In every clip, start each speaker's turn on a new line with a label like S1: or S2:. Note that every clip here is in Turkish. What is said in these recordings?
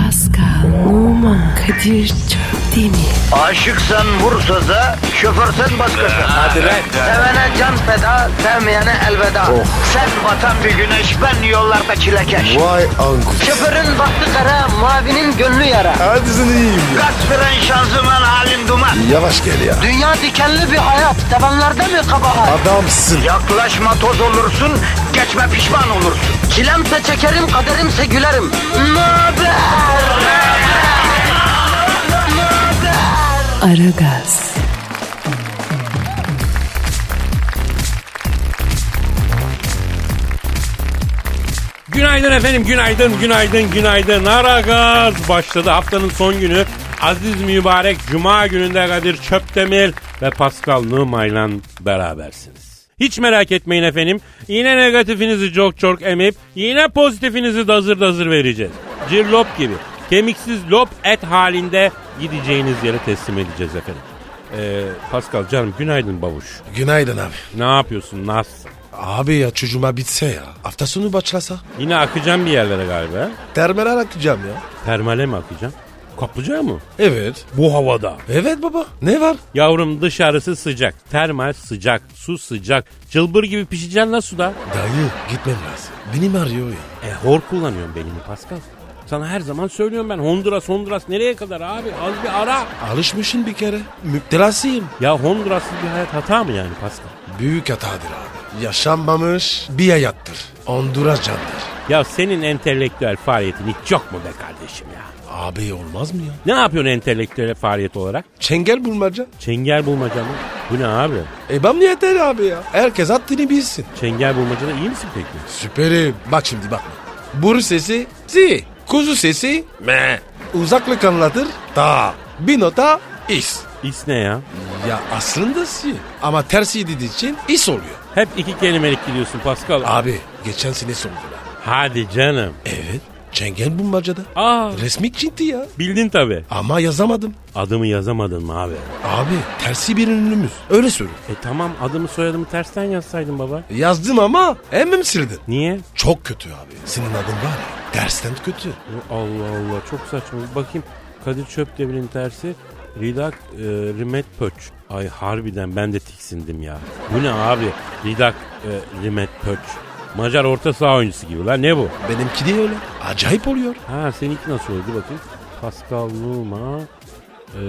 S1: Pascal, Oman, Kadir çok değil mi?
S2: Aşıksan vursa da şoförsen başkasın.
S3: Hadi lan.
S2: Sevene can feda, sevmeyene elveda. Sen batan bir güneş, ben yollarda çilekeş.
S4: Vay anku.
S2: Şoförün baktı kara, mavinin gönlü yara.
S4: Hadi sen iyiyim ya.
S2: Kasperen şanzıman halin duman.
S4: Yavaş gel ya.
S2: Dünya dikenli bir hayat, sevenlerde mi kabahar?
S4: Adamsın.
S2: Yaklaşma toz olursun, geçme pişman olursun. Çilemse çekerim, kaderimse gülerim. Möber!
S1: Aragaz,
S3: Günaydın efendim, günaydın, günaydın, günaydın. Aragaz başladı. Haftanın son günü. Aziz mübarek Cuma gününde Kadir Çöptemir ve Pascal Numay'la berabersiniz. Hiç merak etmeyin efendim. Yine negatifinizi çok çok emip, yine pozitifinizi dazır dazır vereceğiz. Cirlop gibi. Kemiksiz lop et halinde gideceğiniz yere teslim edeceğiz efendim. Ee, Pascal canım günaydın babuş.
S4: Günaydın abi.
S3: Ne yapıyorsun? Nasılsın?
S4: Abi ya çocuğuma bitse ya. Hafta sonu başlasa.
S3: Yine akacağım bir yerlere galiba.
S4: Terminal atacağım ya.
S3: Termale mi akacağım? Kaplıca mı?
S4: Evet.
S3: Bu havada.
S4: Evet baba. Ne var?
S3: Yavrum dışarısı sıcak. Termal sıcak. Su sıcak. Cılbır gibi pişeceksin la suda.
S4: Dayı gitmem lazım. Benim arıyor ya.
S3: E hor kullanıyorum beynimi Pascal. Sana her zaman söylüyorum ben Honduras Honduras nereye kadar abi az bir ara.
S4: Alışmışsın bir kere. Müptelasıyım.
S3: Ya Honduras'lı bir hayat hata mı yani Pascal?
S4: Büyük hatadır abi. Yaşanmamış bir hayattır. Honduras candır.
S3: Ya senin entelektüel faaliyetin hiç yok mu be kardeşim ya?
S4: Abi olmaz mı ya?
S3: Ne yapıyorsun entelektüel faaliyet olarak?
S4: Çengel bulmaca.
S3: Çengel bulmaca mı? Bu ne abi?
S4: Ebam yeter abi ya. Herkes haddini bilsin.
S3: Çengel bulmacada iyi misin peki?
S4: Süperim. Bak şimdi bak. Boru sesi si. Kuzu sesi me. Uzaklık anlatır ta. Bir nota is.
S3: İs ne ya?
S4: Ya aslında si. Ama tersi dediği için is oluyor.
S3: Hep iki kelimelik gidiyorsun Pascal.
S4: Abi geçen sene sordular.
S3: Hadi canım.
S4: Evet. Çengel bulmacada.
S3: Aa
S4: Resmi çinti ya.
S3: bildin tabi.
S4: Ama yazamadım.
S3: Adımı yazamadın mı abi?
S4: Abi tersi bir ünlümüz. Öyle söylüyor.
S3: E tamam adımı soyadımı tersten yazsaydın baba.
S4: Yazdım ama emmim sildim.
S3: Niye?
S4: Çok kötü abi. Senin adın var ya. Dersten kötü.
S3: Allah Allah çok saçma. Bir Bakayım Kadir Çöpdemir'in tersi Ridak e, Rimet Pöç. Ay harbiden ben de tiksindim ya. Bu ne abi? Ridak e, Rimet Pöç. Macar orta saha oyuncusu gibi lan ne bu?
S4: Benimki de öyle. Acayip oluyor.
S3: Ha seninki nasıl oldu bakayım. Pascal Numa e,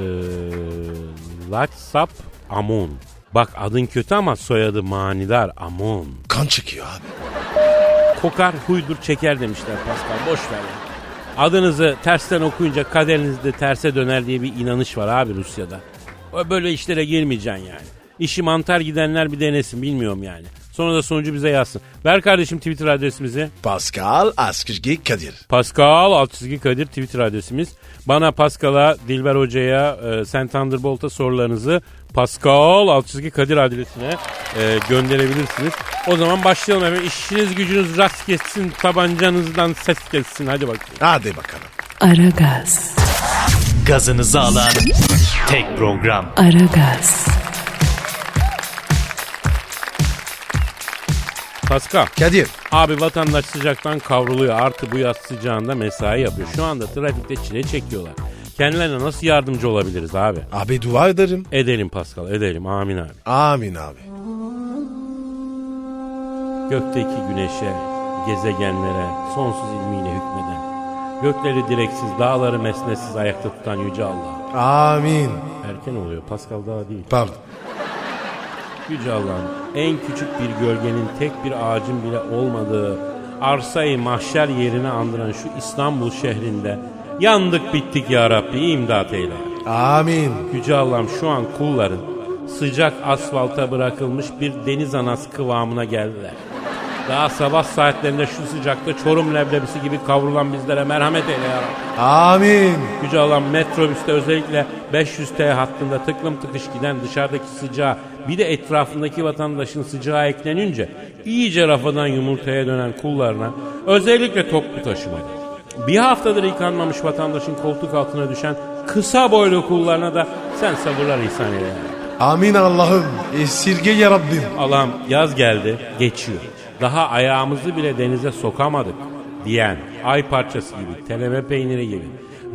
S3: Latsap Amon. Bak adın kötü ama soyadı manidar Amon.
S4: Kan çıkıyor abi.
S3: Kokar huydur çeker demişler Pascal boş ver. ya. Adınızı tersten okuyunca kaderiniz de terse döner diye bir inanış var abi Rusya'da. O Böyle işlere girmeyeceksin yani. İşi mantar gidenler bir denesin bilmiyorum yani. Sonra da sonucu bize yazsın. Ver kardeşim Twitter adresimizi.
S4: Pascal Askışgi Kadir.
S3: Pascal Altçizgi Kadir Twitter adresimiz. Bana Pascal'a, Dilber Hoca'ya, e, Sen Thunderbolt'a sorularınızı Pascal Altçizgi Kadir adresine e, gönderebilirsiniz. O zaman başlayalım efendim. İşiniz gücünüz rast geçsin, tabancanızdan ses geçsin. Hadi bakayım.
S4: Hadi bakalım.
S1: Aragaz,
S5: gazınızı alan tek program.
S1: Aragaz,
S3: Pascal,
S4: Kadir.
S3: abi vatandaş sıcaktan kavruluyor. Artı bu yaz sıcağında mesai yapıyor. Şu anda trafikte çile çekiyorlar. Kendilerine nasıl yardımcı olabiliriz abi?
S4: Abi dua ederim.
S3: Edelim Pascal, edelim. Amin abi.
S4: Amin abi.
S3: Gökteki güneşe, gezegenlere, sonsuz ilmiyle hükmeden, gökleri direksiz, dağları mesnetsiz ayakta tutan Yüce Allah.
S4: Amin.
S3: Erken oluyor, Pascal daha değil.
S4: Pardon.
S3: Yüce Allah'ın en küçük bir gölgenin tek bir ağacın bile olmadığı arsayı mahşer yerini andıran şu İstanbul şehrinde yandık bittik ya Rabbi imdat eyle.
S4: Amin.
S3: Yüce Allah'ım şu an kulların sıcak asfalta bırakılmış bir deniz anası kıvamına geldiler. Daha sabah saatlerinde şu sıcakta çorum leblebisi gibi kavrulan bizlere merhamet eyle ya Rabbi.
S4: Amin.
S3: Yüce Allah'ım metrobüste özellikle 500T hattında tıklım tıkış giden dışarıdaki sıcağa bir de etrafındaki vatandaşın sıcağı eklenince iyice rafadan yumurtaya dönen kullarına özellikle toplu taşımada bir haftadır yıkanmamış vatandaşın koltuk altına düşen kısa boylu kullarına da sen sabırlar ihsan eyle. ya Rabbi.
S4: Amin Allah'ım. Esirge ya Rabbim.
S3: Allah'ım yaz geldi geçiyor. Daha ayağımızı bile denize sokamadık diyen ay parçası gibi, teleme peyniri gibi.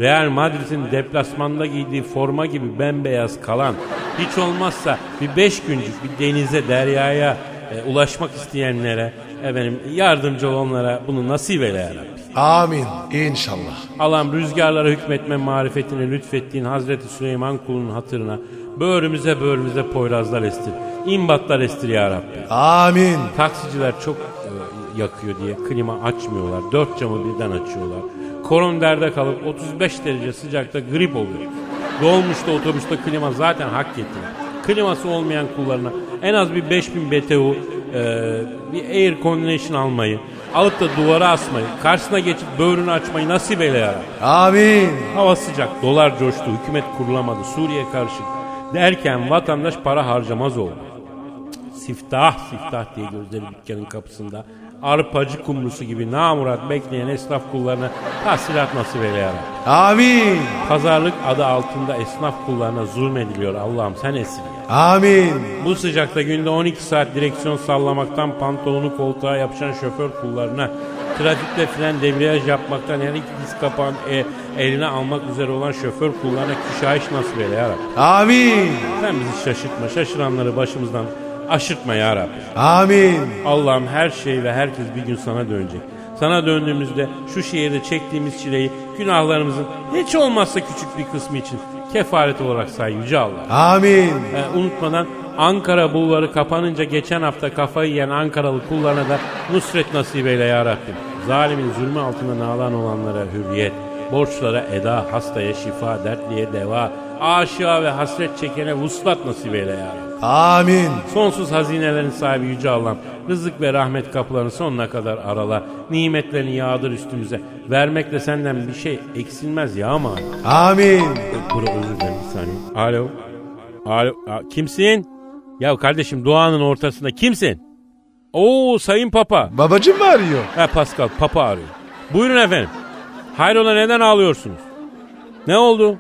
S3: Real Madrid'in deplasmanda giydiği forma gibi bembeyaz kalan, hiç olmazsa bir beş güncük bir denize, deryaya e, ulaşmak isteyenlere, efendim yardımcı olanlara bunu nasip eyle ya Rabbi.
S4: Amin. İnşallah.
S3: Allah'ım rüzgarlara hükmetme marifetini lütfettiğin Hazreti Süleyman kulunun hatırına böğrümüze böğrümüze poyrazlar estir. İmbatlar estir ya Rabbi.
S4: Amin.
S3: Taksiciler çok e, yakıyor diye klima açmıyorlar. Dört camı birden açıyorlar. Koron derde kalıp 35 derece sıcakta grip oluyor. Dolmuşta otobüste klima zaten hak getiriyor. Kliması olmayan kullarına en az bir 50bin BTU e, bir air condition almayı, alıp da duvara asmayı, karşısına geçip böğrünü açmayı nasip eyle ya Rabbi.
S4: Amin.
S3: Hava sıcak, dolar coştu, hükümet kurulamadı, Suriye karışık derken vatandaş para harcamaz oldu. Cık, Siftah siftah diye gözleri dükkanın kapısında arpacı kumrusu gibi namurat bekleyen esnaf kullarına tahsilat nasip eyle ya Rabbi.
S4: Amin.
S3: Pazarlık adı altında esnaf kullarına zulmediliyor Allah'ım sen esir ya.
S4: Amin.
S3: Bu sıcakta günde 12 saat direksiyon sallamaktan pantolonu koltuğa yapışan şoför kullarına, trafikte fren debriyaj yapmaktan her iki diz kapağın e, eline almak üzere olan şoför kullarına kişayiş nasip eyle ya Rabbi.
S4: Amin.
S3: Sen bizi şaşırtma, şaşıranları başımızdan aşırtma ya Rabbi.
S4: Amin.
S3: Allah'ım her şey ve herkes bir gün sana dönecek. Sana döndüğümüzde şu şehirde çektiğimiz çileyi günahlarımızın hiç olmazsa küçük bir kısmı için kefaret olarak say Yüce Allah.
S4: Amin.
S3: E, unutmadan Ankara bulvarı kapanınca geçen hafta kafayı yiyen Ankaralı kullarına da nusret nasip eyle ya Rabbim. Zalimin zulmü altında nalan olanlara hürriyet, borçlara eda, hastaya şifa, dertliye deva, aşığa ve hasret çekene vuslat nasip eyle ya Rabbim.
S4: Amin.
S3: Sonsuz hazinelerin sahibi Yüce Allah'ım, rızık ve rahmet kapılarını sonuna kadar arala, nimetlerini yağdır üstümüze. Vermekle senden bir şey eksilmez ya ama.
S4: Amin.
S3: Dur özür dilerim bir saniye. Alo. Alo. a- Kimsin? Ya kardeşim doğanın ortasında kimsin? Oo sayın papa.
S4: Babacım mı arıyor?
S3: Ha Pascal papa arıyor. Buyurun efendim. Hayrola neden ağlıyorsunuz? Ne oldu?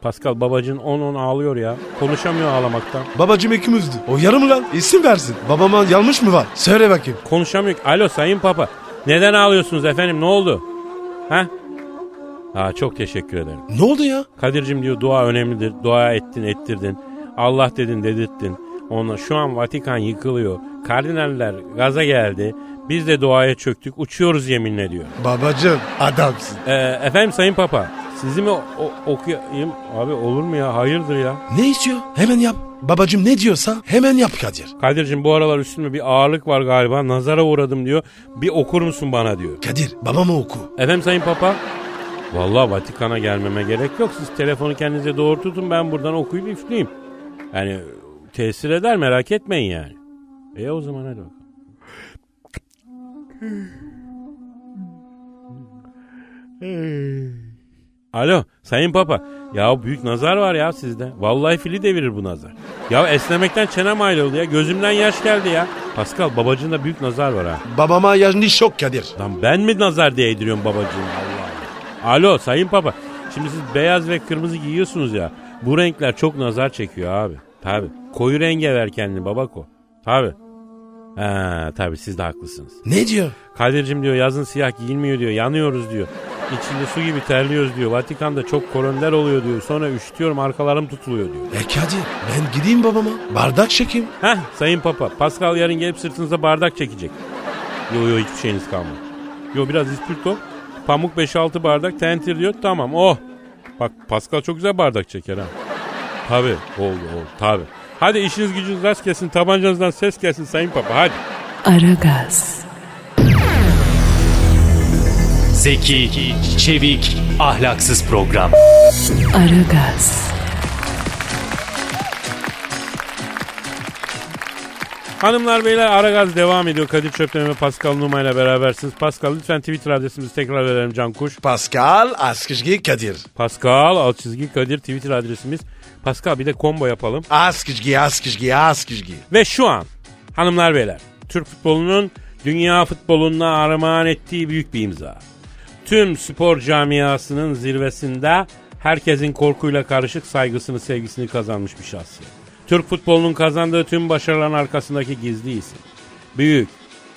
S3: Pascal babacın 10-10 ağlıyor ya. Konuşamıyor ağlamaktan.
S4: Babacım ikimizdi. O yarım lan. İsim versin. Babama yanlış mı var? Söyle bakayım.
S3: Konuşamıyor ki. Alo sayın papa. Neden ağlıyorsunuz efendim ne oldu? Ha? Aa, çok teşekkür ederim.
S4: Ne oldu ya?
S3: Kadir'cim diyor dua önemlidir. Dua ettin ettirdin. Allah dedin dedirttin. Ona şu an Vatikan yıkılıyor. Kardinaller gaza geldi. Biz de duaya çöktük. Uçuyoruz yeminle diyor.
S4: Babacım adamsın.
S3: Ee, efendim Sayın Papa. Sizi mi o- okuyayım? Abi olur mu ya? Hayırdır ya?
S4: Ne istiyor? Hemen yap. Babacım ne diyorsa hemen yap Kadir.
S3: Kadir'cim bu aralar üstümde bir ağırlık var galiba. Nazara uğradım diyor. Bir okur musun bana diyor.
S4: Kadir babama oku.
S3: Efendim Sayın Papa? Vallahi Vatikan'a gelmeme gerek yok. Siz telefonu kendinize doğru tutun ben buradan okuyup üfleyeyim. Yani tesir eder merak etmeyin yani. E o zaman hadi bakalım. Alo Sayın Papa. Ya büyük nazar var ya sizde. Vallahi fili devirir bu nazar. Ya esnemekten çenem ayrıldı ya. Gözümden yaş geldi ya. Pascal babacığında büyük nazar var ha.
S4: Babama yanlış yok Kadir.
S3: Lan ben mi nazar değdiriyorum babacığım Allah Allah. Alo sayın papa. Şimdi siz beyaz ve kırmızı giyiyorsunuz ya. Bu renkler çok nazar çekiyor abi. Tabi. Koyu renge ver kendini babako. Tabi. Ha tabi siz de haklısınız.
S4: Ne diyor?
S3: Kadir'cim diyor yazın siyah giyilmiyor diyor. Yanıyoruz diyor. İçinde su gibi terliyoruz diyor. Vatikan'da çok koloniler oluyor diyor. Sonra üşütüyorum arkalarım tutuluyor diyor.
S4: E Kadir ben gideyim babama. Bardak çekeyim.
S3: Heh sayın papa Pascal yarın gelip sırtınıza bardak çekecek. Yo yo hiçbir şeyiniz kalmadı. Yo biraz ispirto. Pamuk 5-6 bardak tentir diyor tamam oh. Bak Pascal çok güzel bardak çeker ha. Tabi oldu oldu tabi. Hadi işiniz gücünüz rast gelsin tabancanızdan ses gelsin sayın papa hadi.
S1: Aragaz,
S5: Zeki, çevik, ahlaksız program.
S1: Aragaz,
S3: Hanımlar beyler Aragaz devam ediyor. Kadir Çöpten ve Pascal Numa ile berabersiniz. Pascal lütfen Twitter adresimizi tekrar verelim Can Kuş.
S4: Pascal Askışgi Kadir.
S3: Pascal alt çizgi Kadir Twitter adresimiz. Pascal bir de combo yapalım.
S4: Askışgi Askışgi Askışgi.
S3: Ve şu an hanımlar beyler Türk futbolunun dünya futboluna armağan ettiği büyük bir imza. Tüm spor camiasının zirvesinde herkesin korkuyla karışık saygısını sevgisini kazanmış bir şahsiyet. Türk futbolunun kazandığı tüm başarıların arkasındaki gizli isim. Büyük,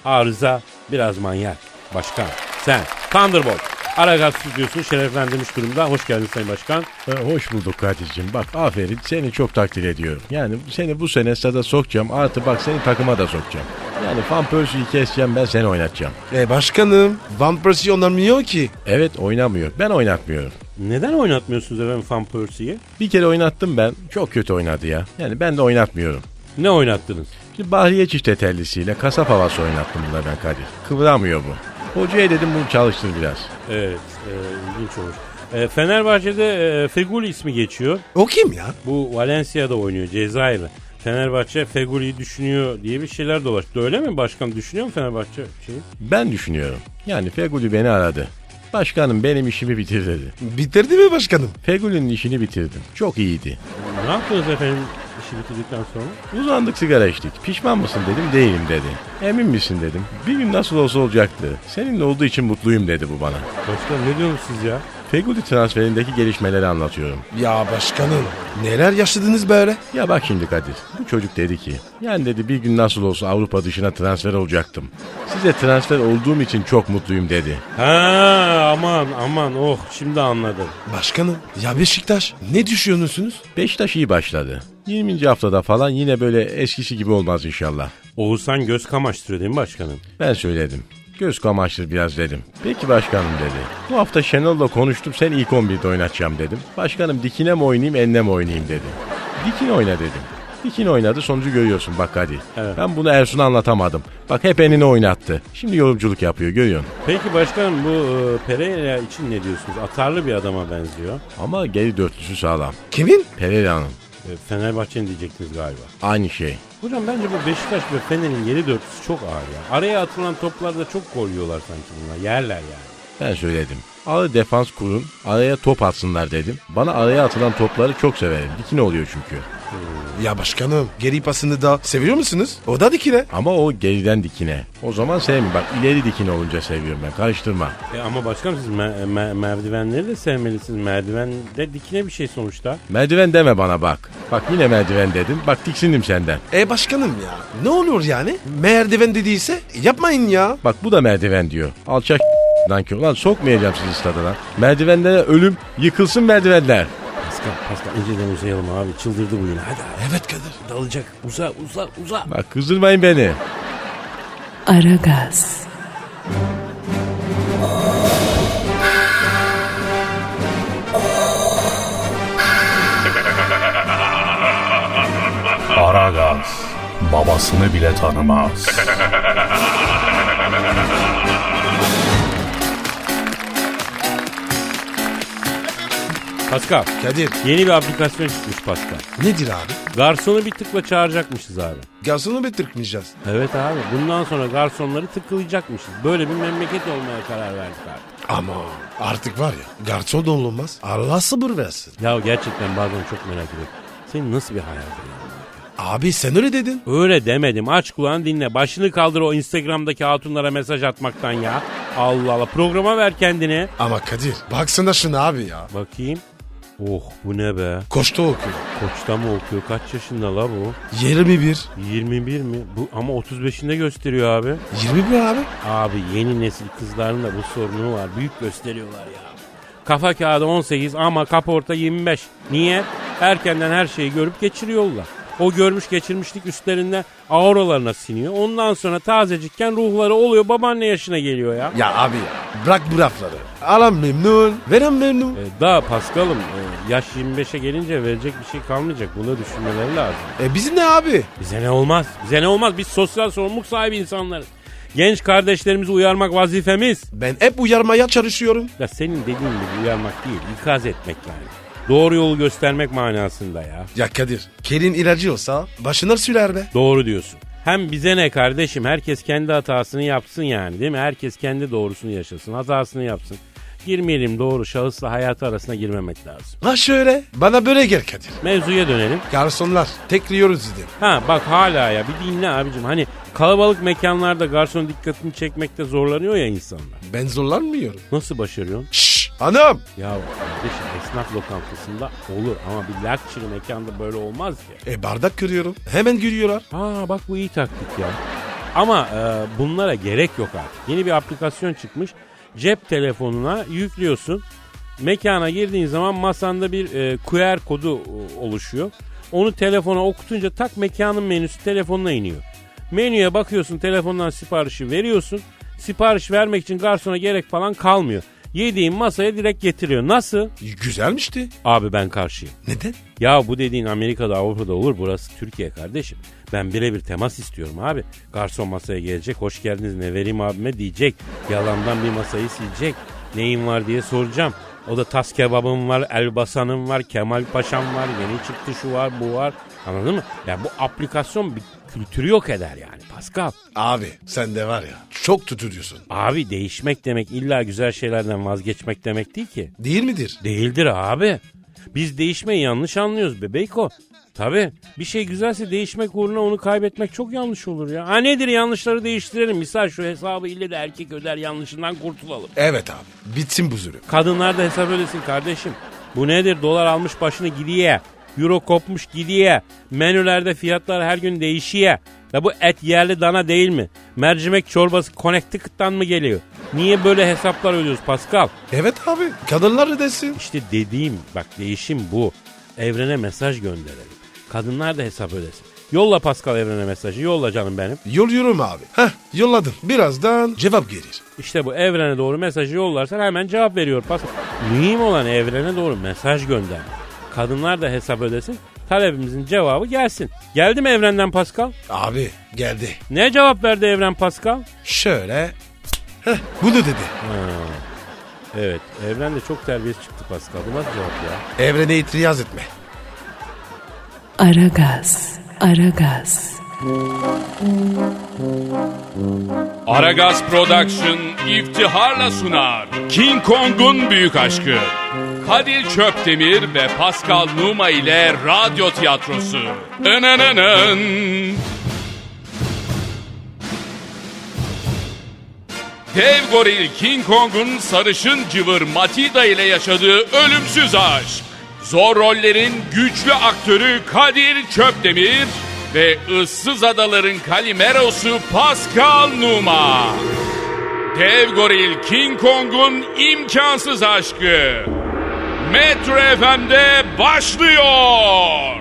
S3: arıza, biraz manyak. Başkan, sen, Thunderbolt, Aragaz Stüdyosu'nu şereflendirmiş durumda. Hoş geldiniz Sayın Başkan.
S6: Ee, Hoş bulduk Kadir'cim. Bak aferin seni çok takdir ediyorum. Yani seni bu sene stada sokacağım. Artı bak seni takıma da sokacağım. Yani Van Persie'yi keseceğim ben seni oynatacağım.
S4: E başkanım Van Persie onamıyor ki.
S6: Evet oynamıyor. Ben oynatmıyorum.
S3: Neden oynatmıyorsunuz efendim Van Persie'yi?
S6: Bir kere oynattım ben. Çok kötü oynadı ya. Yani ben de oynatmıyorum.
S3: Ne oynattınız?
S6: Şimdi Bahriye çifte tellisiyle kasap havası oynattım bunlar ben Kadir. Kıvramıyor bu. Hocaya dedim bunu çalıştır biraz.
S3: Evet, e, ilginç olur. E, Fenerbahçe'de e, Feguli ismi geçiyor.
S4: O kim ya?
S3: Bu Valencia'da oynuyor Cezayir'le. Fenerbahçe Feguli'yi düşünüyor diye bir şeyler dolaştı. Öyle mi başkan? Düşünüyor mu Fenerbahçe şeyi?
S6: Ben düşünüyorum. Yani Feguli beni aradı. Başkanım benim işimi bitir dedi.
S4: Bitirdi mi başkanım?
S6: Feguli'nin işini bitirdim. Çok iyiydi.
S3: Ne yaptınız efendim işi bitirdikten sonra?
S6: Uzandık sigara içtik. Pişman mısın dedim değilim dedi. Emin misin dedim. Bir gün nasıl olsa olacaktı. Seninle olduğu için mutluyum dedi bu bana.
S3: Başkan ne diyorsunuz siz ya?
S6: Feguli transferindeki gelişmeleri anlatıyorum.
S4: Ya başkanım neler yaşadınız böyle?
S6: Ya bak şimdi Kadir. Bu çocuk dedi ki. Yani dedi bir gün nasıl olsa Avrupa dışına transfer olacaktım. Size transfer olduğum için çok mutluyum dedi.
S3: Ha aman aman oh şimdi anladım.
S4: Başkanım ya Beşiktaş ne düşünüyorsunuz?
S6: Beşiktaş iyi başladı. 20. haftada falan yine böyle eskisi gibi olmaz inşallah.
S3: Oğuzhan göz kamaştırıyor değil mi başkanım?
S6: Ben söyledim. Göz kamaştır biraz dedim. Peki başkanım dedi. Bu hafta Şenol'la konuştum sen ilk 11'de oynatacağım dedim. Başkanım dikine mi oynayayım enine mi oynayayım dedi. Dikine oyna dedim. Dikine oynadı sonucu görüyorsun bak hadi.
S3: Evet.
S6: Ben bunu Ersun'a anlatamadım. Bak hep enine oynattı. Şimdi yorumculuk yapıyor görüyorsun.
S3: Peki başkanım bu e, Pereira için ne diyorsunuz? Atarlı bir adama benziyor.
S6: Ama geri dörtlüsü sağlam.
S4: Kimin?
S6: Pereira'nın
S3: E, Fenerbahçe'nin diyecektiniz galiba.
S6: aynı şey.
S3: Hocam bence bu Beşiktaş ve Fener'in yeri dörtlüsü çok ağır ya. Araya atılan toplarda çok gol yiyorlar sanki bunlar. Yerler yani.
S6: Ben söyledim. Ağır defans kurun, araya top atsınlar dedim. Bana araya atılan topları çok severim. Dikine oluyor çünkü.
S4: Ya başkanım geri pasını da seviyor musunuz? O da dikine.
S6: Ama o geriden dikine. O zaman sevmiyorum. Bak ileri dikine olunca seviyorum ben. Karıştırma.
S3: E ama başkanım siz me- me- merdivenleri de sevmelisiniz. Merdiven de dikine bir şey sonuçta.
S6: Merdiven deme bana bak. Bak yine merdiven dedim. Bak tiksindim senden.
S4: E başkanım ya ne olur yani? Merdiven dediyse yapmayın ya.
S6: Bak bu da merdiven diyor. Alçak nankör. Lan sokmayacağım sizi stada lan. Merdivenlere ölüm. Yıkılsın merdivenler.
S3: Pascal, Pascal inceden uzayalım abi. Çıldırdı bu yine. Hadi abi.
S4: Evet Kadir.
S3: Dalacak. Uza, uza, uza.
S6: Bak kızdırmayın beni.
S1: Aragaz,
S5: Aragaz babasını bile tanımaz.
S3: Pascal,
S4: Kadir
S3: yeni bir aplikasyon çıkmış Pascal.
S4: nedir abi?
S3: Garsonu bir tıkla çağıracakmışız abi.
S4: Garsonu bitirtmeyeceğiz.
S3: Evet abi. Bundan sonra garsonları tıklayacakmışız. Böyle bir memleket olmaya karar verdik abi.
S4: Ama artık var ya garson da olunmaz. Allah sabır versin.
S3: Ya gerçekten bazen çok merak ediyorum. Senin nasıl bir hayalin? ya?
S4: Abi sen öyle dedin.
S3: Öyle demedim. Aç kulağını dinle. Başını kaldır o Instagram'daki hatunlara mesaj atmaktan ya. Allah Allah. Programa ver kendini.
S4: Ama Kadir baksana şuna abi ya.
S3: Bakayım. Oh bu ne be?
S4: Koçta okuyor.
S3: Koçta mı okuyor? Kaç yaşında la bu?
S4: 21.
S3: 21 mi? Bu ama 35'inde gösteriyor abi.
S4: 21 abi.
S3: Abi yeni nesil kızların da bu sorunu var. Büyük gösteriyorlar ya. Kafa kağıdı 18 ama kaporta 25. Niye? Erkenden her şeyi görüp geçiriyorlar. O görmüş geçirmişlik üstlerinde auralarına siniyor. Ondan sonra tazecikken ruhları oluyor babaanne yaşına geliyor ya.
S4: Ya abi ya. Bırak bu lafları. Alan memnun. Veren memnun.
S3: Ee, daha Paskal'ım e, yaş 25'e gelince verecek bir şey kalmayacak. Bunu düşünmeleri lazım.
S4: E bizim ne abi?
S3: Bize ne olmaz? Bize ne olmaz? Biz sosyal sorumluluk sahibi insanlarız. Genç kardeşlerimizi uyarmak vazifemiz.
S4: Ben hep uyarmaya çalışıyorum.
S3: Ya senin dediğin gibi uyarmak değil, ikaz etmek yani. Doğru yolu göstermek manasında ya.
S4: Ya Kadir. Kelin ilacı olsa başına sürer be.
S3: Doğru diyorsun. Hem bize ne kardeşim? Herkes kendi hatasını yapsın yani değil mi? Herkes kendi doğrusunu yaşasın, hatasını yapsın. Girmeyelim doğru şahısla hayatı arasına girmemek lazım.
S4: Ha şöyle. Bana böyle gel Kadir.
S3: Mevzuya dönelim.
S4: Garsonlar tekliyoruz dedim.
S3: Ha bak hala ya bir dinle abicim. Hani kalabalık mekanlarda garson dikkatini çekmekte zorlanıyor ya insanlar.
S4: Ben zorlanmıyorum.
S3: Nasıl başarıyorsun?
S4: Şşş hanım.
S3: Ya kardeşim esnaf lokantasında olur ama bir lakçırı mekanda böyle olmaz ki.
S4: E bardak kırıyorum. Hemen gülüyorlar.
S3: Ha bak bu iyi taktik ya. Ama e, bunlara gerek yok artık. Yeni bir aplikasyon çıkmış. cep telefonuna yüklüyorsun. Mekana girdiğin zaman masanda bir e, QR kodu e, oluşuyor. Onu telefona okutunca tak mekanın menüsü telefonuna iniyor. Menüye bakıyorsun telefondan siparişi veriyorsun. Sipariş vermek için garsona gerek falan kalmıyor. Yediğin masaya direkt getiriyor. Nasıl?
S4: E, Güzelmişti.
S3: Abi ben karşıyım.
S4: Neden?
S3: Ya bu dediğin Amerika'da Avrupa'da olur burası Türkiye kardeşim. Ben birebir temas istiyorum abi. Garson masaya gelecek hoş geldiniz ne vereyim abime diyecek. Yalandan bir masayı silecek. Neyin var diye soracağım. O da tas kebabım var, elbasanım var, Kemal Paşam var, yeni çıktı şu var, bu var. Anladın mı? Ya bu aplikasyon bir kültürü yok eder yani Pascal.
S4: Abi sen de var ya çok tutuyorsun.
S3: Abi değişmek demek illa güzel şeylerden vazgeçmek demek değil ki.
S4: Değil midir?
S3: Değildir abi. Biz değişmeyi yanlış anlıyoruz bebeyko. Tabi bir şey güzelse değişmek uğruna onu kaybetmek çok yanlış olur ya. Ha nedir yanlışları değiştirelim. Misal şu hesabı ille de erkek öder yanlışından kurtulalım.
S4: Evet abi bitsin bu zulüm.
S3: Kadınlar da hesap ödesin kardeşim. Bu nedir dolar almış başını gidiye. Euro kopmuş gidiye. Menülerde fiyatlar her gün değişiye. Ya bu et yerli dana değil mi? Mercimek çorbası Connecticut'tan mı geliyor? Niye böyle hesaplar ödüyoruz Pascal?
S4: Evet abi kadınlar desin.
S3: İşte dediğim bak değişim bu. Evrene mesaj gönderelim. Kadınlar da hesap ödesin. Yolla Pascal evrene mesajı yolla canım benim.
S4: Yol yürüm abi. Heh yolladım. Birazdan cevap gelir.
S3: İşte bu evrene doğru mesajı yollarsan hemen cevap veriyor Pascal. Mühim olan evrene doğru mesaj gönder. Kadınlar da hesap ödesin. Talebimizin cevabı gelsin. Geldi mi evrenden Pascal?
S4: Abi geldi.
S3: Ne cevap verdi evren Pascal?
S4: Şöyle. Heh bunu dedi.
S3: Evet evrende çok terbiyesiz çıktı Pascal. Bu nasıl cevap ya?
S4: Evrene itiraz etme.
S1: Aragaz, Aragaz,
S5: Aragaz Production iftiharla sunar. King Kong'un büyük aşkı. Kadir Çöptemir ve Pascal Numa ile radyo tiyatrosu. Önönönön. Dev goril King Kong'un sarışın cıvır Matida ile yaşadığı ölümsüz aşk. Zor rollerin güçlü aktörü Kadir Çöpdemir ve ıssız adaların Kalimerosu Pascal Numa. Dev goril King Kong'un imkansız aşkı. Metro FM'de başlıyor.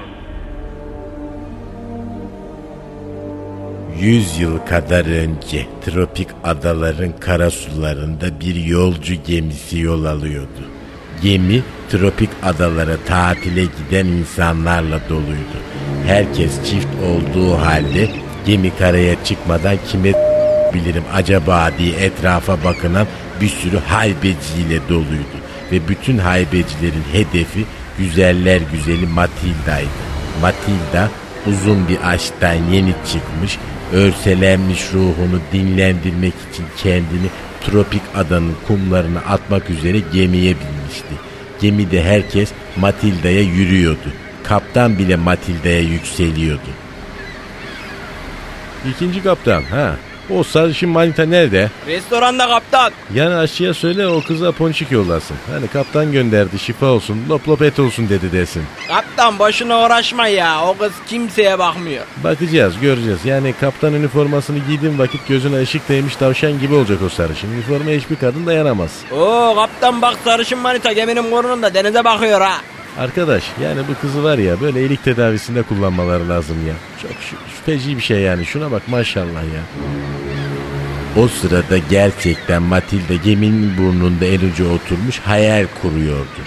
S6: 100 yıl kadar önce tropik adaların karasularında bir yolcu gemisi yol alıyordu. Gemi tropik adalara tatile giden insanlarla doluydu. Herkes çift olduğu halde gemi karaya çıkmadan kime bilirim acaba diye etrafa bakınan bir sürü haybeciyle doluydu. Ve bütün haybecilerin hedefi güzeller güzeli Matilda'ydı. Matilda uzun bir aşktan yeni çıkmış, örselenmiş ruhunu dinlendirmek için kendini tropik adanın kumlarına atmak üzere gemiye binmişti. Gemide herkes Matilda'ya yürüyordu. Kaptan bile Matilda'ya yükseliyordu. İkinci kaptan ha. O sarışın manita nerede?
S7: Restoranda kaptan.
S6: Yani aşçıya söyle o kıza ponçik yollasın. Hani kaptan gönderdi şifa olsun lop lop et olsun dedi desin.
S7: Kaptan boşuna uğraşma ya. O kız kimseye bakmıyor.
S6: Bakacağız göreceğiz. Yani kaptan üniformasını giydiğin vakit gözüne ışık değmiş tavşan gibi olacak o sarışın. Üniforma hiçbir kadın dayanamaz.
S7: Oo kaptan bak sarışın manita geminin burnunda denize bakıyor ha.
S6: Arkadaş yani bu kızı var ya böyle iyilik tedavisinde kullanmaları lazım ya. Çok şü- şüpheci bir şey yani şuna bak maşallah ya. O sırada gerçekten Matilda geminin burnunda en uca oturmuş hayal kuruyordu.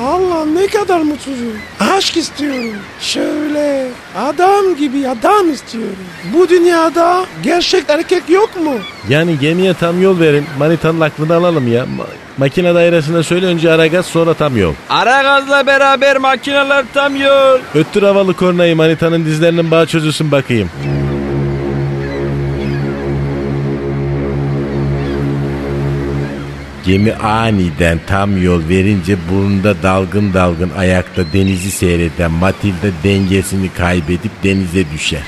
S4: Allah ne kadar mutsuzum. Aşk istiyorum. Şöyle adam gibi adam istiyorum. Bu dünyada gerçek erkek yok mu?
S6: Yani gemiye tam yol verin. Manitanın aklını alalım ya. Ma- makine dairesine söyle önce ara gaz sonra tam yol.
S7: Aragaz'la beraber makineler tam yol.
S6: Öttür havalı kornayı manitanın dizlerinin bağ çözülsün bakayım. Gemi aniden tam yol verince burnunda dalgın dalgın ayakta denizi seyreden Matilda dengesini kaybedip denize düşer.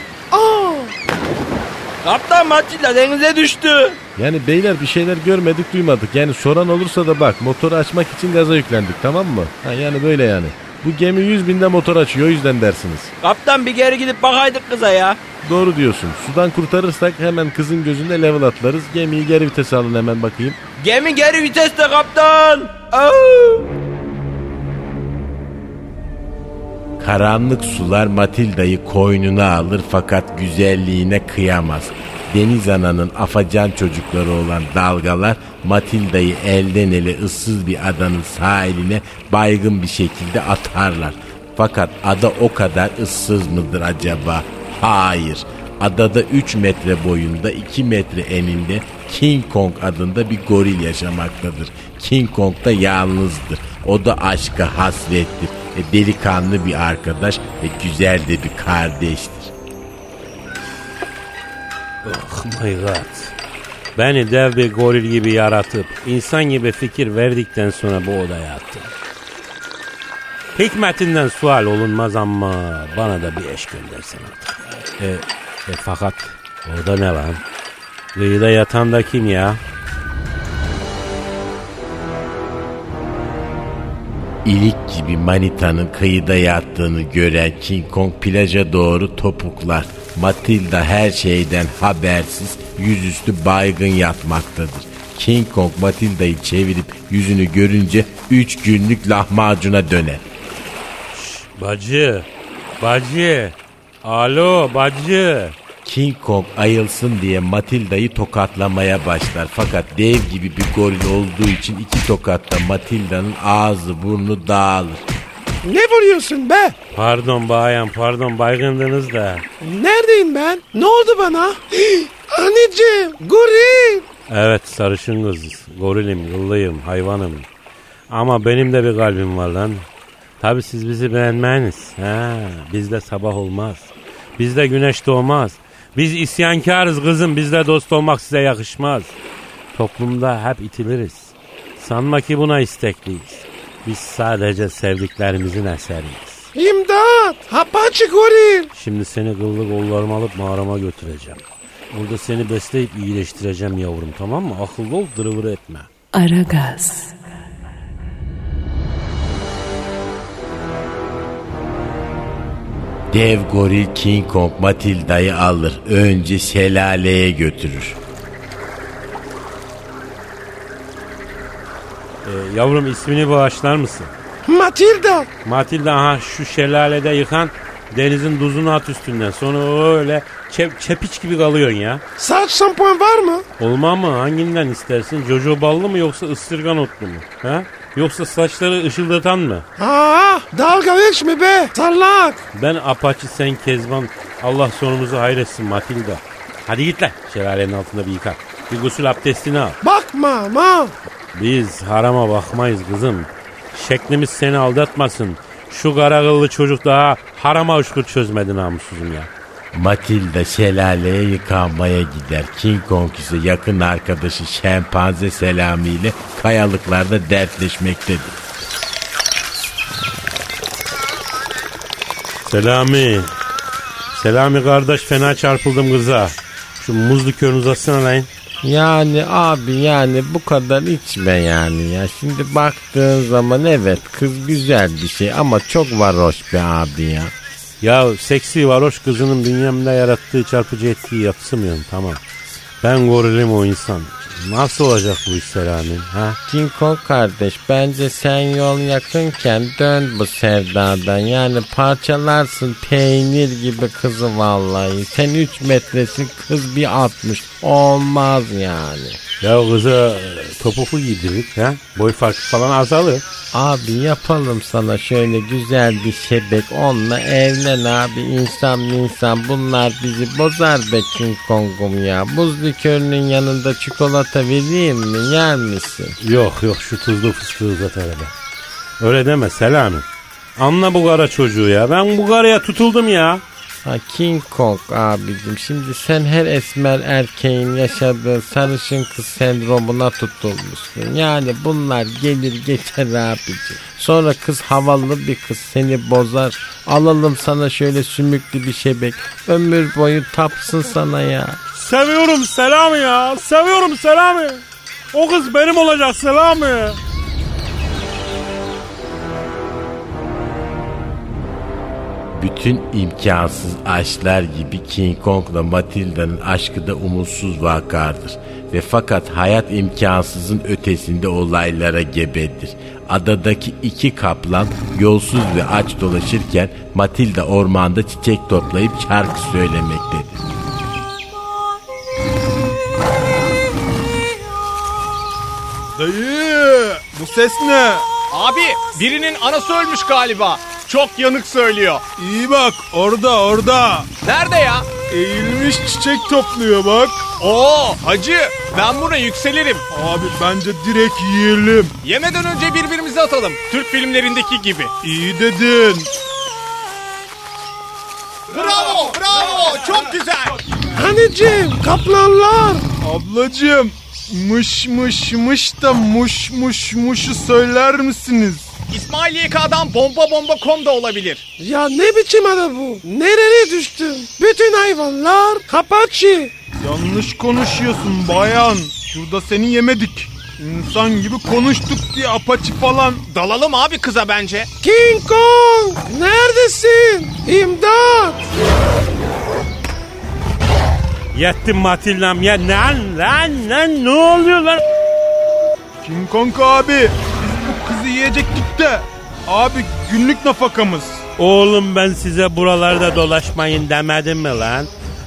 S7: Kaptan Matilda denize düştü.
S6: Yani beyler bir şeyler görmedik duymadık. Yani soran olursa da bak motoru açmak için gaza yüklendik tamam mı? Ha, yani böyle yani. Bu gemi 100 binde motor açıyor o yüzden dersiniz.
S7: Kaptan bir geri gidip bakaydık kıza ya.
S6: Doğru diyorsun. Sudan kurtarırsak hemen kızın gözünde level atlarız. Gemiyi geri vitese alın hemen bakayım.
S7: Gemi geri viteste kaptan. Aa!
S6: Karanlık sular Matilda'yı koynuna alır fakat güzelliğine kıyamaz. Deniz ananın afacan çocukları olan dalgalar Matilda'yı elden ele ıssız bir adanın sahiline baygın bir şekilde atarlar. Fakat ada o kadar ıssız mıdır acaba? Hayır. Adada 3 metre boyunda 2 metre eninde King Kong adında bir goril yaşamaktadır. King Kong da yalnızdır. O da aşka hasrettir. E, delikanlı bir arkadaş ve güzel de bir kardeştir.
S3: Oh my god. Beni dev bir goril gibi yaratıp insan gibi fikir verdikten sonra bu odaya attı. Hikmetinden sual olunmaz ama bana da bir eş göndersen artık. E, e, fakat orada ne var? Kıyıda yatan da kim ya?
S6: İlik gibi manitanın kıyıda yattığını gören King Kong plaja doğru topuklar. Matilda her şeyden habersiz yüzüstü baygın yatmaktadır. King Kong Matilda'yı çevirip yüzünü görünce 3 günlük lahmacuna döner.
S3: Bacı. Bacı. Alo bacı.
S6: King Kong ayılsın diye Matilda'yı tokatlamaya başlar. Fakat dev gibi bir goril olduğu için iki tokatta Matilda'nın ağzı burnu dağılır.
S4: Ne vuruyorsun be?
S3: Pardon bayan pardon baygındınız da.
S4: Neredeyim ben? Ne oldu bana? Anneciğim, goril.
S3: Evet sarışın kız. Gorilim, yıllıyım, hayvanım. Ama benim de bir kalbim var lan. Tabi siz bizi beğenmeyiniz. He, bizde sabah olmaz. Bizde güneş doğmaz. Biz isyankarız kızım. Bizde dost olmak size yakışmaz. Toplumda hep itiliriz. Sanma ki buna istekliyiz. Biz sadece sevdiklerimizin eseriyiz.
S4: İmdat, Apache goril.
S3: Şimdi seni kıllı kollarıma alıp mağarama götüreceğim. Burada seni besleyip iyileştireceğim yavrum tamam mı? Akıllı ol dırıvırı etme.
S1: Aragaz.
S6: Dev goril King Kong Matilda'yı alır. Önce şelaleye götürür.
S3: Ee, yavrum ismini bağışlar mısın?
S4: Matilda,
S3: Matilda aha şu şelalede yıkan denizin duzunu at üstünden. Sonra öyle çep, çepiç gibi kalıyorsun ya.
S4: saç şampuan var mı?
S3: Olma mı? Hanginden istersin? Jojo ballı mı yoksa ıstırgan otlu mu? Ha? Yoksa saçları ışıldatan mı?
S4: Aa, dalga geçme be, sallak.
S3: Ben apaçı sen kezban. Allah sonumuzu hayretsin Matilda. Hadi git lan şelalenin altında bir yıkan. Bir gusül abdestini al.
S4: Bakma ama.
S3: Biz harama bakmayız kızım. Şeklimiz seni aldatmasın. Şu kara kıllı çocuk daha harama uşkur çözmedi namussuzum ya.
S6: Matilda şelaleye yıkanmaya gider. King Kong ise yakın arkadaşı şempanze Selami ile kayalıklarda dertleşmektedir.
S3: Selami. Selami kardeş fena çarpıldım kıza. Şu muzlu körünü uzatsana lan.
S6: Yani abi yani bu kadar içme yani ya. Şimdi baktığın zaman evet kız güzel bir şey ama çok varoş be abi ya.
S3: Ya seksi varoş kızının bünyemde yarattığı çarpıcı etkiyi yapsamıyorum tamam. Ben gorilim o insan. Nasıl olacak bu iş Selami? Ha?
S6: King Kong kardeş bence sen yol yakınken dön bu sevdadan. Yani parçalarsın peynir gibi kızı vallahi. Sen 3 metresin kız bir 60. Olmaz yani.
S3: Ya kıza e, topuklu giydirdik. Ha? Boy farkı falan azalır.
S6: Abi yapalım sana şöyle güzel bir şebek onunla evlen abi insan insan bunlar bizi bozar be King Kong'um ya. Buz likörünün yanında çikolata vereyim mi yer misin?
S3: Yok yok şu tuzlu fıstığı uzat hele. Öyle deme Selami. Anla bu kara çocuğu ya. Ben bu karaya tutuldum ya.
S6: Ha King Kong abicim şimdi sen her esmer erkeğin yaşadığı sarışın kız sendromuna tutulmuşsun. Yani bunlar gelir geçer abicim. Sonra kız havalı bir kız seni bozar. Alalım sana şöyle sümüklü bir şebek. Ömür boyu tapsın sana ya.
S3: Seviyorum Selami ya. Seviyorum Selami. O kız benim olacak Selami.
S6: Bütün imkansız aşklar gibi King Kong'la Matilda'nın aşkı da umutsuz vakardır. Ve fakat hayat imkansızın ötesinde olaylara gebedir. Adadaki iki kaplan yolsuz ve aç dolaşırken Matilda ormanda çiçek toplayıp şarkı söylemektedir.
S8: Dayı bu ses ne?
S9: Abi birinin anası ölmüş galiba. Çok yanık söylüyor.
S8: İyi bak orada orada.
S9: Nerede ya?
S8: Eğilmiş çiçek topluyor bak.
S9: Oo hacı ben buna yükselirim.
S8: Abi bence direkt yiyelim.
S9: Yemeden önce birbirimize atalım. Türk filmlerindeki gibi.
S8: İyi dedin.
S9: Bravo bravo çok güzel.
S4: Anneciğim kaplanlar.
S8: Ablacığım mış mış mış da muş muş muşu söyler misiniz?
S9: İsmail YK'dan bomba bomba kom da olabilir.
S4: Ya ne biçim ada bu? Nereye düştüm? Bütün hayvanlar kapaçı.
S8: Yanlış konuşuyorsun bayan. Şurada seni yemedik. İnsan gibi konuştuk diye apaçı falan.
S9: Dalalım abi kıza bence.
S4: King Kong neredesin? İmdat.
S3: Yettim Matilda'm ya. Lan lan lan ne oluyor lan?
S8: King Kong abi biz bu kızı yiyecektik de. Abi günlük nafakamız.
S3: Oğlum ben size buralarda dolaşmayın demedim mi lan?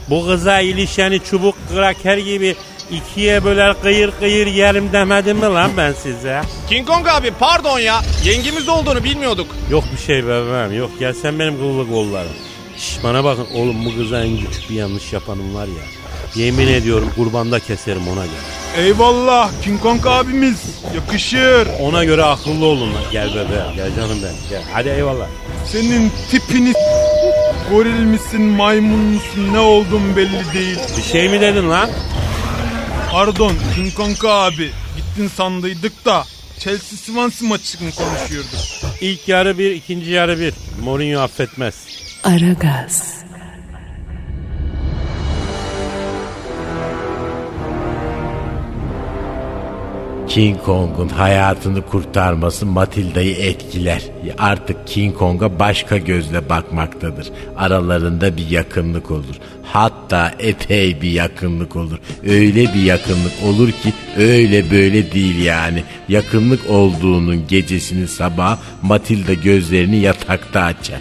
S3: Bu kıza ilişeni çubuk kraker gibi ikiye böler kıyır kıyır yerim demedim mi lan ben size?
S9: King Kong abi pardon ya. Yengemiz olduğunu bilmiyorduk.
S3: Yok bir şey bebeğim yok gel sen benim kıllı kollarım. Şş bana bakın oğlum bu kıza en küçük bir yanlış yapanım var ya. Yemin ediyorum kurbanda keserim ona göre.
S8: Eyvallah King Kong abimiz. Yakışır.
S3: Ona göre akıllı olun lan. Gel bebeğim gel canım benim gel. Hadi eyvallah.
S8: Senin tipini s- goril misin maymun musun ne olduğun belli değil.
S3: Bir şey mi dedin lan?
S8: Pardon King Kong abi gittin sandıydık da Chelsea Swansea maçını konuşuyorduk.
S3: İlk yarı bir ikinci yarı bir. Mourinho affetmez.
S1: Aragaz,
S6: King Kong'un hayatını kurtarması Matilda'yı etkiler. Artık King Kong'a başka gözle bakmaktadır. Aralarında bir yakınlık olur. Hatta epey bir yakınlık olur. Öyle bir yakınlık olur ki öyle böyle değil yani. Yakınlık olduğunun gecesini sabah Matilda gözlerini yatakta açar.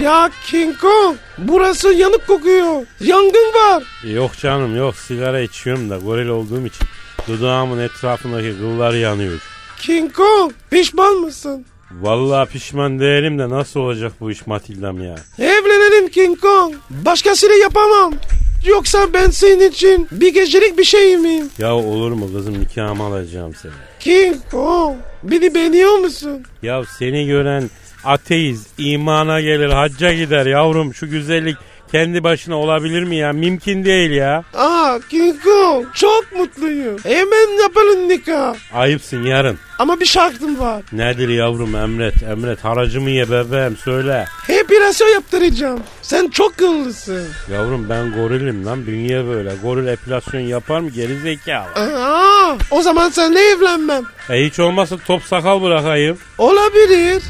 S4: Ya King Kong burası yanık kokuyor. Yangın var.
S3: Yok canım yok sigara içiyorum da goril olduğum için dudağımın etrafındaki kıllar yanıyor.
S4: King Kong pişman mısın?
S3: Vallahi pişman değilim de nasıl olacak bu iş Matilda'm ya.
S4: Evlenelim King Kong. Başkasıyla yapamam. Yoksa ben senin için bir gecelik bir şey miyim?
S3: Ya olur mu kızım nikahımı alacağım seni.
S4: King Kong beni beğeniyor musun?
S3: Ya seni gören ateist imana gelir hacca gider yavrum şu güzellik kendi başına olabilir mi ya? Mümkün değil ya.
S4: Aa King Kong çok mutluyum. Hemen yapalım nikah.
S3: Ayıpsın yarın.
S4: Ama bir şartım var.
S3: Nedir yavrum emret emret haracımı ye bebeğim söyle.
S4: Epilasyon yaptıracağım. Sen çok kıllısın.
S3: Yavrum ben gorilim lan dünya böyle. Goril epilasyon yapar mı geri zekalı.
S4: Aa, o zaman seninle evlenmem.
S3: E hiç olmazsa top sakal bırakayım.
S4: Olabilir.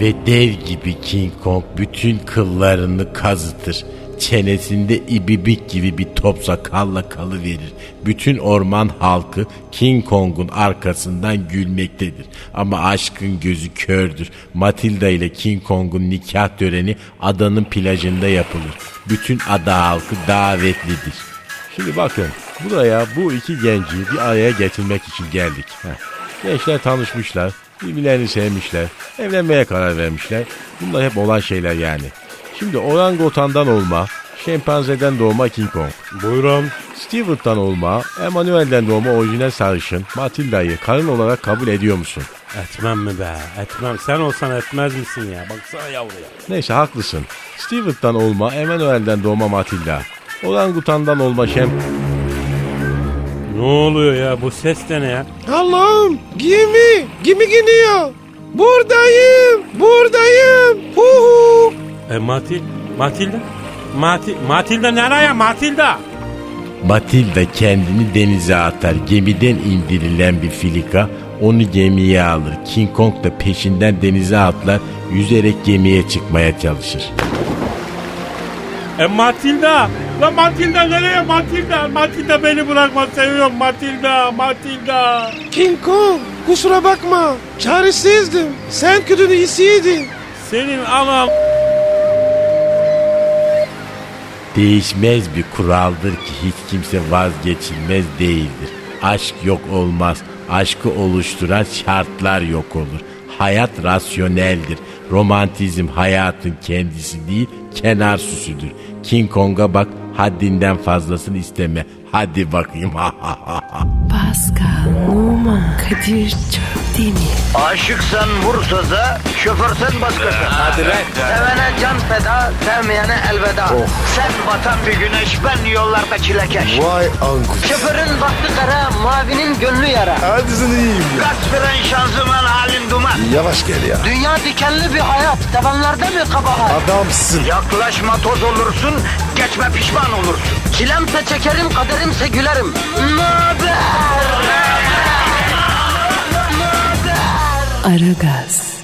S6: Ve dev gibi King Kong bütün kıllarını kazıtır. Çenesinde ibibik gibi bir top sakalla kalıverir. Bütün orman halkı King Kong'un arkasından gülmektedir. Ama aşkın gözü kördür. Matilda ile King Kong'un nikah töreni adanın plajında yapılır. Bütün ada halkı davetlidir. Şimdi bakın buraya bu iki genci bir araya getirmek için geldik. Heh. Gençler tanışmışlar, birbirlerini sevmişler, evlenmeye karar vermişler. Bunlar hep olan şeyler yani. Şimdi orangutandan olma, şempanzeden doğma King Kong,
S3: Buyurun.
S6: Stewart'tan olma, Emanuel'den doğma orijinal sarışın, Matilda'yı karın olarak kabul ediyor musun?
S3: Etmem mi be? Etmem. Sen olsan etmez misin ya? Baksana yavruya.
S6: Neyse haklısın. Stewart'tan olma, Emanuel'den doğma Matilda, orangutandan olma şem...
S3: Ne oluyor ya? Bu ses de ne ya?
S4: Allah'ım gemi gemi geliyor. Buradayım buradayım. Hu hu.
S3: E Matil? Matilda? Mati, Matilda nereye Matilda?
S6: Matilda kendini denize atar. Gemiden indirilen bir filika onu gemiye alır. King Kong da peşinden denize atlar. Yüzerek gemiye çıkmaya çalışır.
S3: E Matilda. La Matilda nereye Matilda? Matilda beni bırakma seviyorum Matilda Matilda.
S4: King Kong kusura bakma. Çaresizdim. Sen kötünün iyisiydin.
S3: Senin anam
S6: Değişmez bir kuraldır ki hiç kimse vazgeçilmez değildir. Aşk yok olmaz. Aşkı oluşturan şartlar yok olur. Hayat rasyoneldir. Romantizm hayatın kendisi değil, kenar süsüdür. King Kong'a bak, haddinden fazlasını isteme. Hadi bakayım.
S1: Pascal, Numan, Kadir çok değil mi?
S2: Aşıksan vursa da, şoförsen başkasın. Hadi be. Sevene can feda, sevmeyene elveda.
S10: Oh.
S2: Sen batan bir güneş, ben yollarda çilekeş.
S10: Vay anku.
S2: Şoförün baktı kara, mavinin gönlü yara.
S10: Hadi sen iyiyim ya.
S2: Kasperen şanzıman halin duman.
S10: Yavaş gel ya.
S2: Dünya dikenli bir hayat, sevenlerde mi kabahar?
S10: Adamsın.
S2: Yaklaşma toz olursun, geçme pişman olursun. Çilemse çekerim, kaderimse gülerim. Möber!
S1: Aragaz.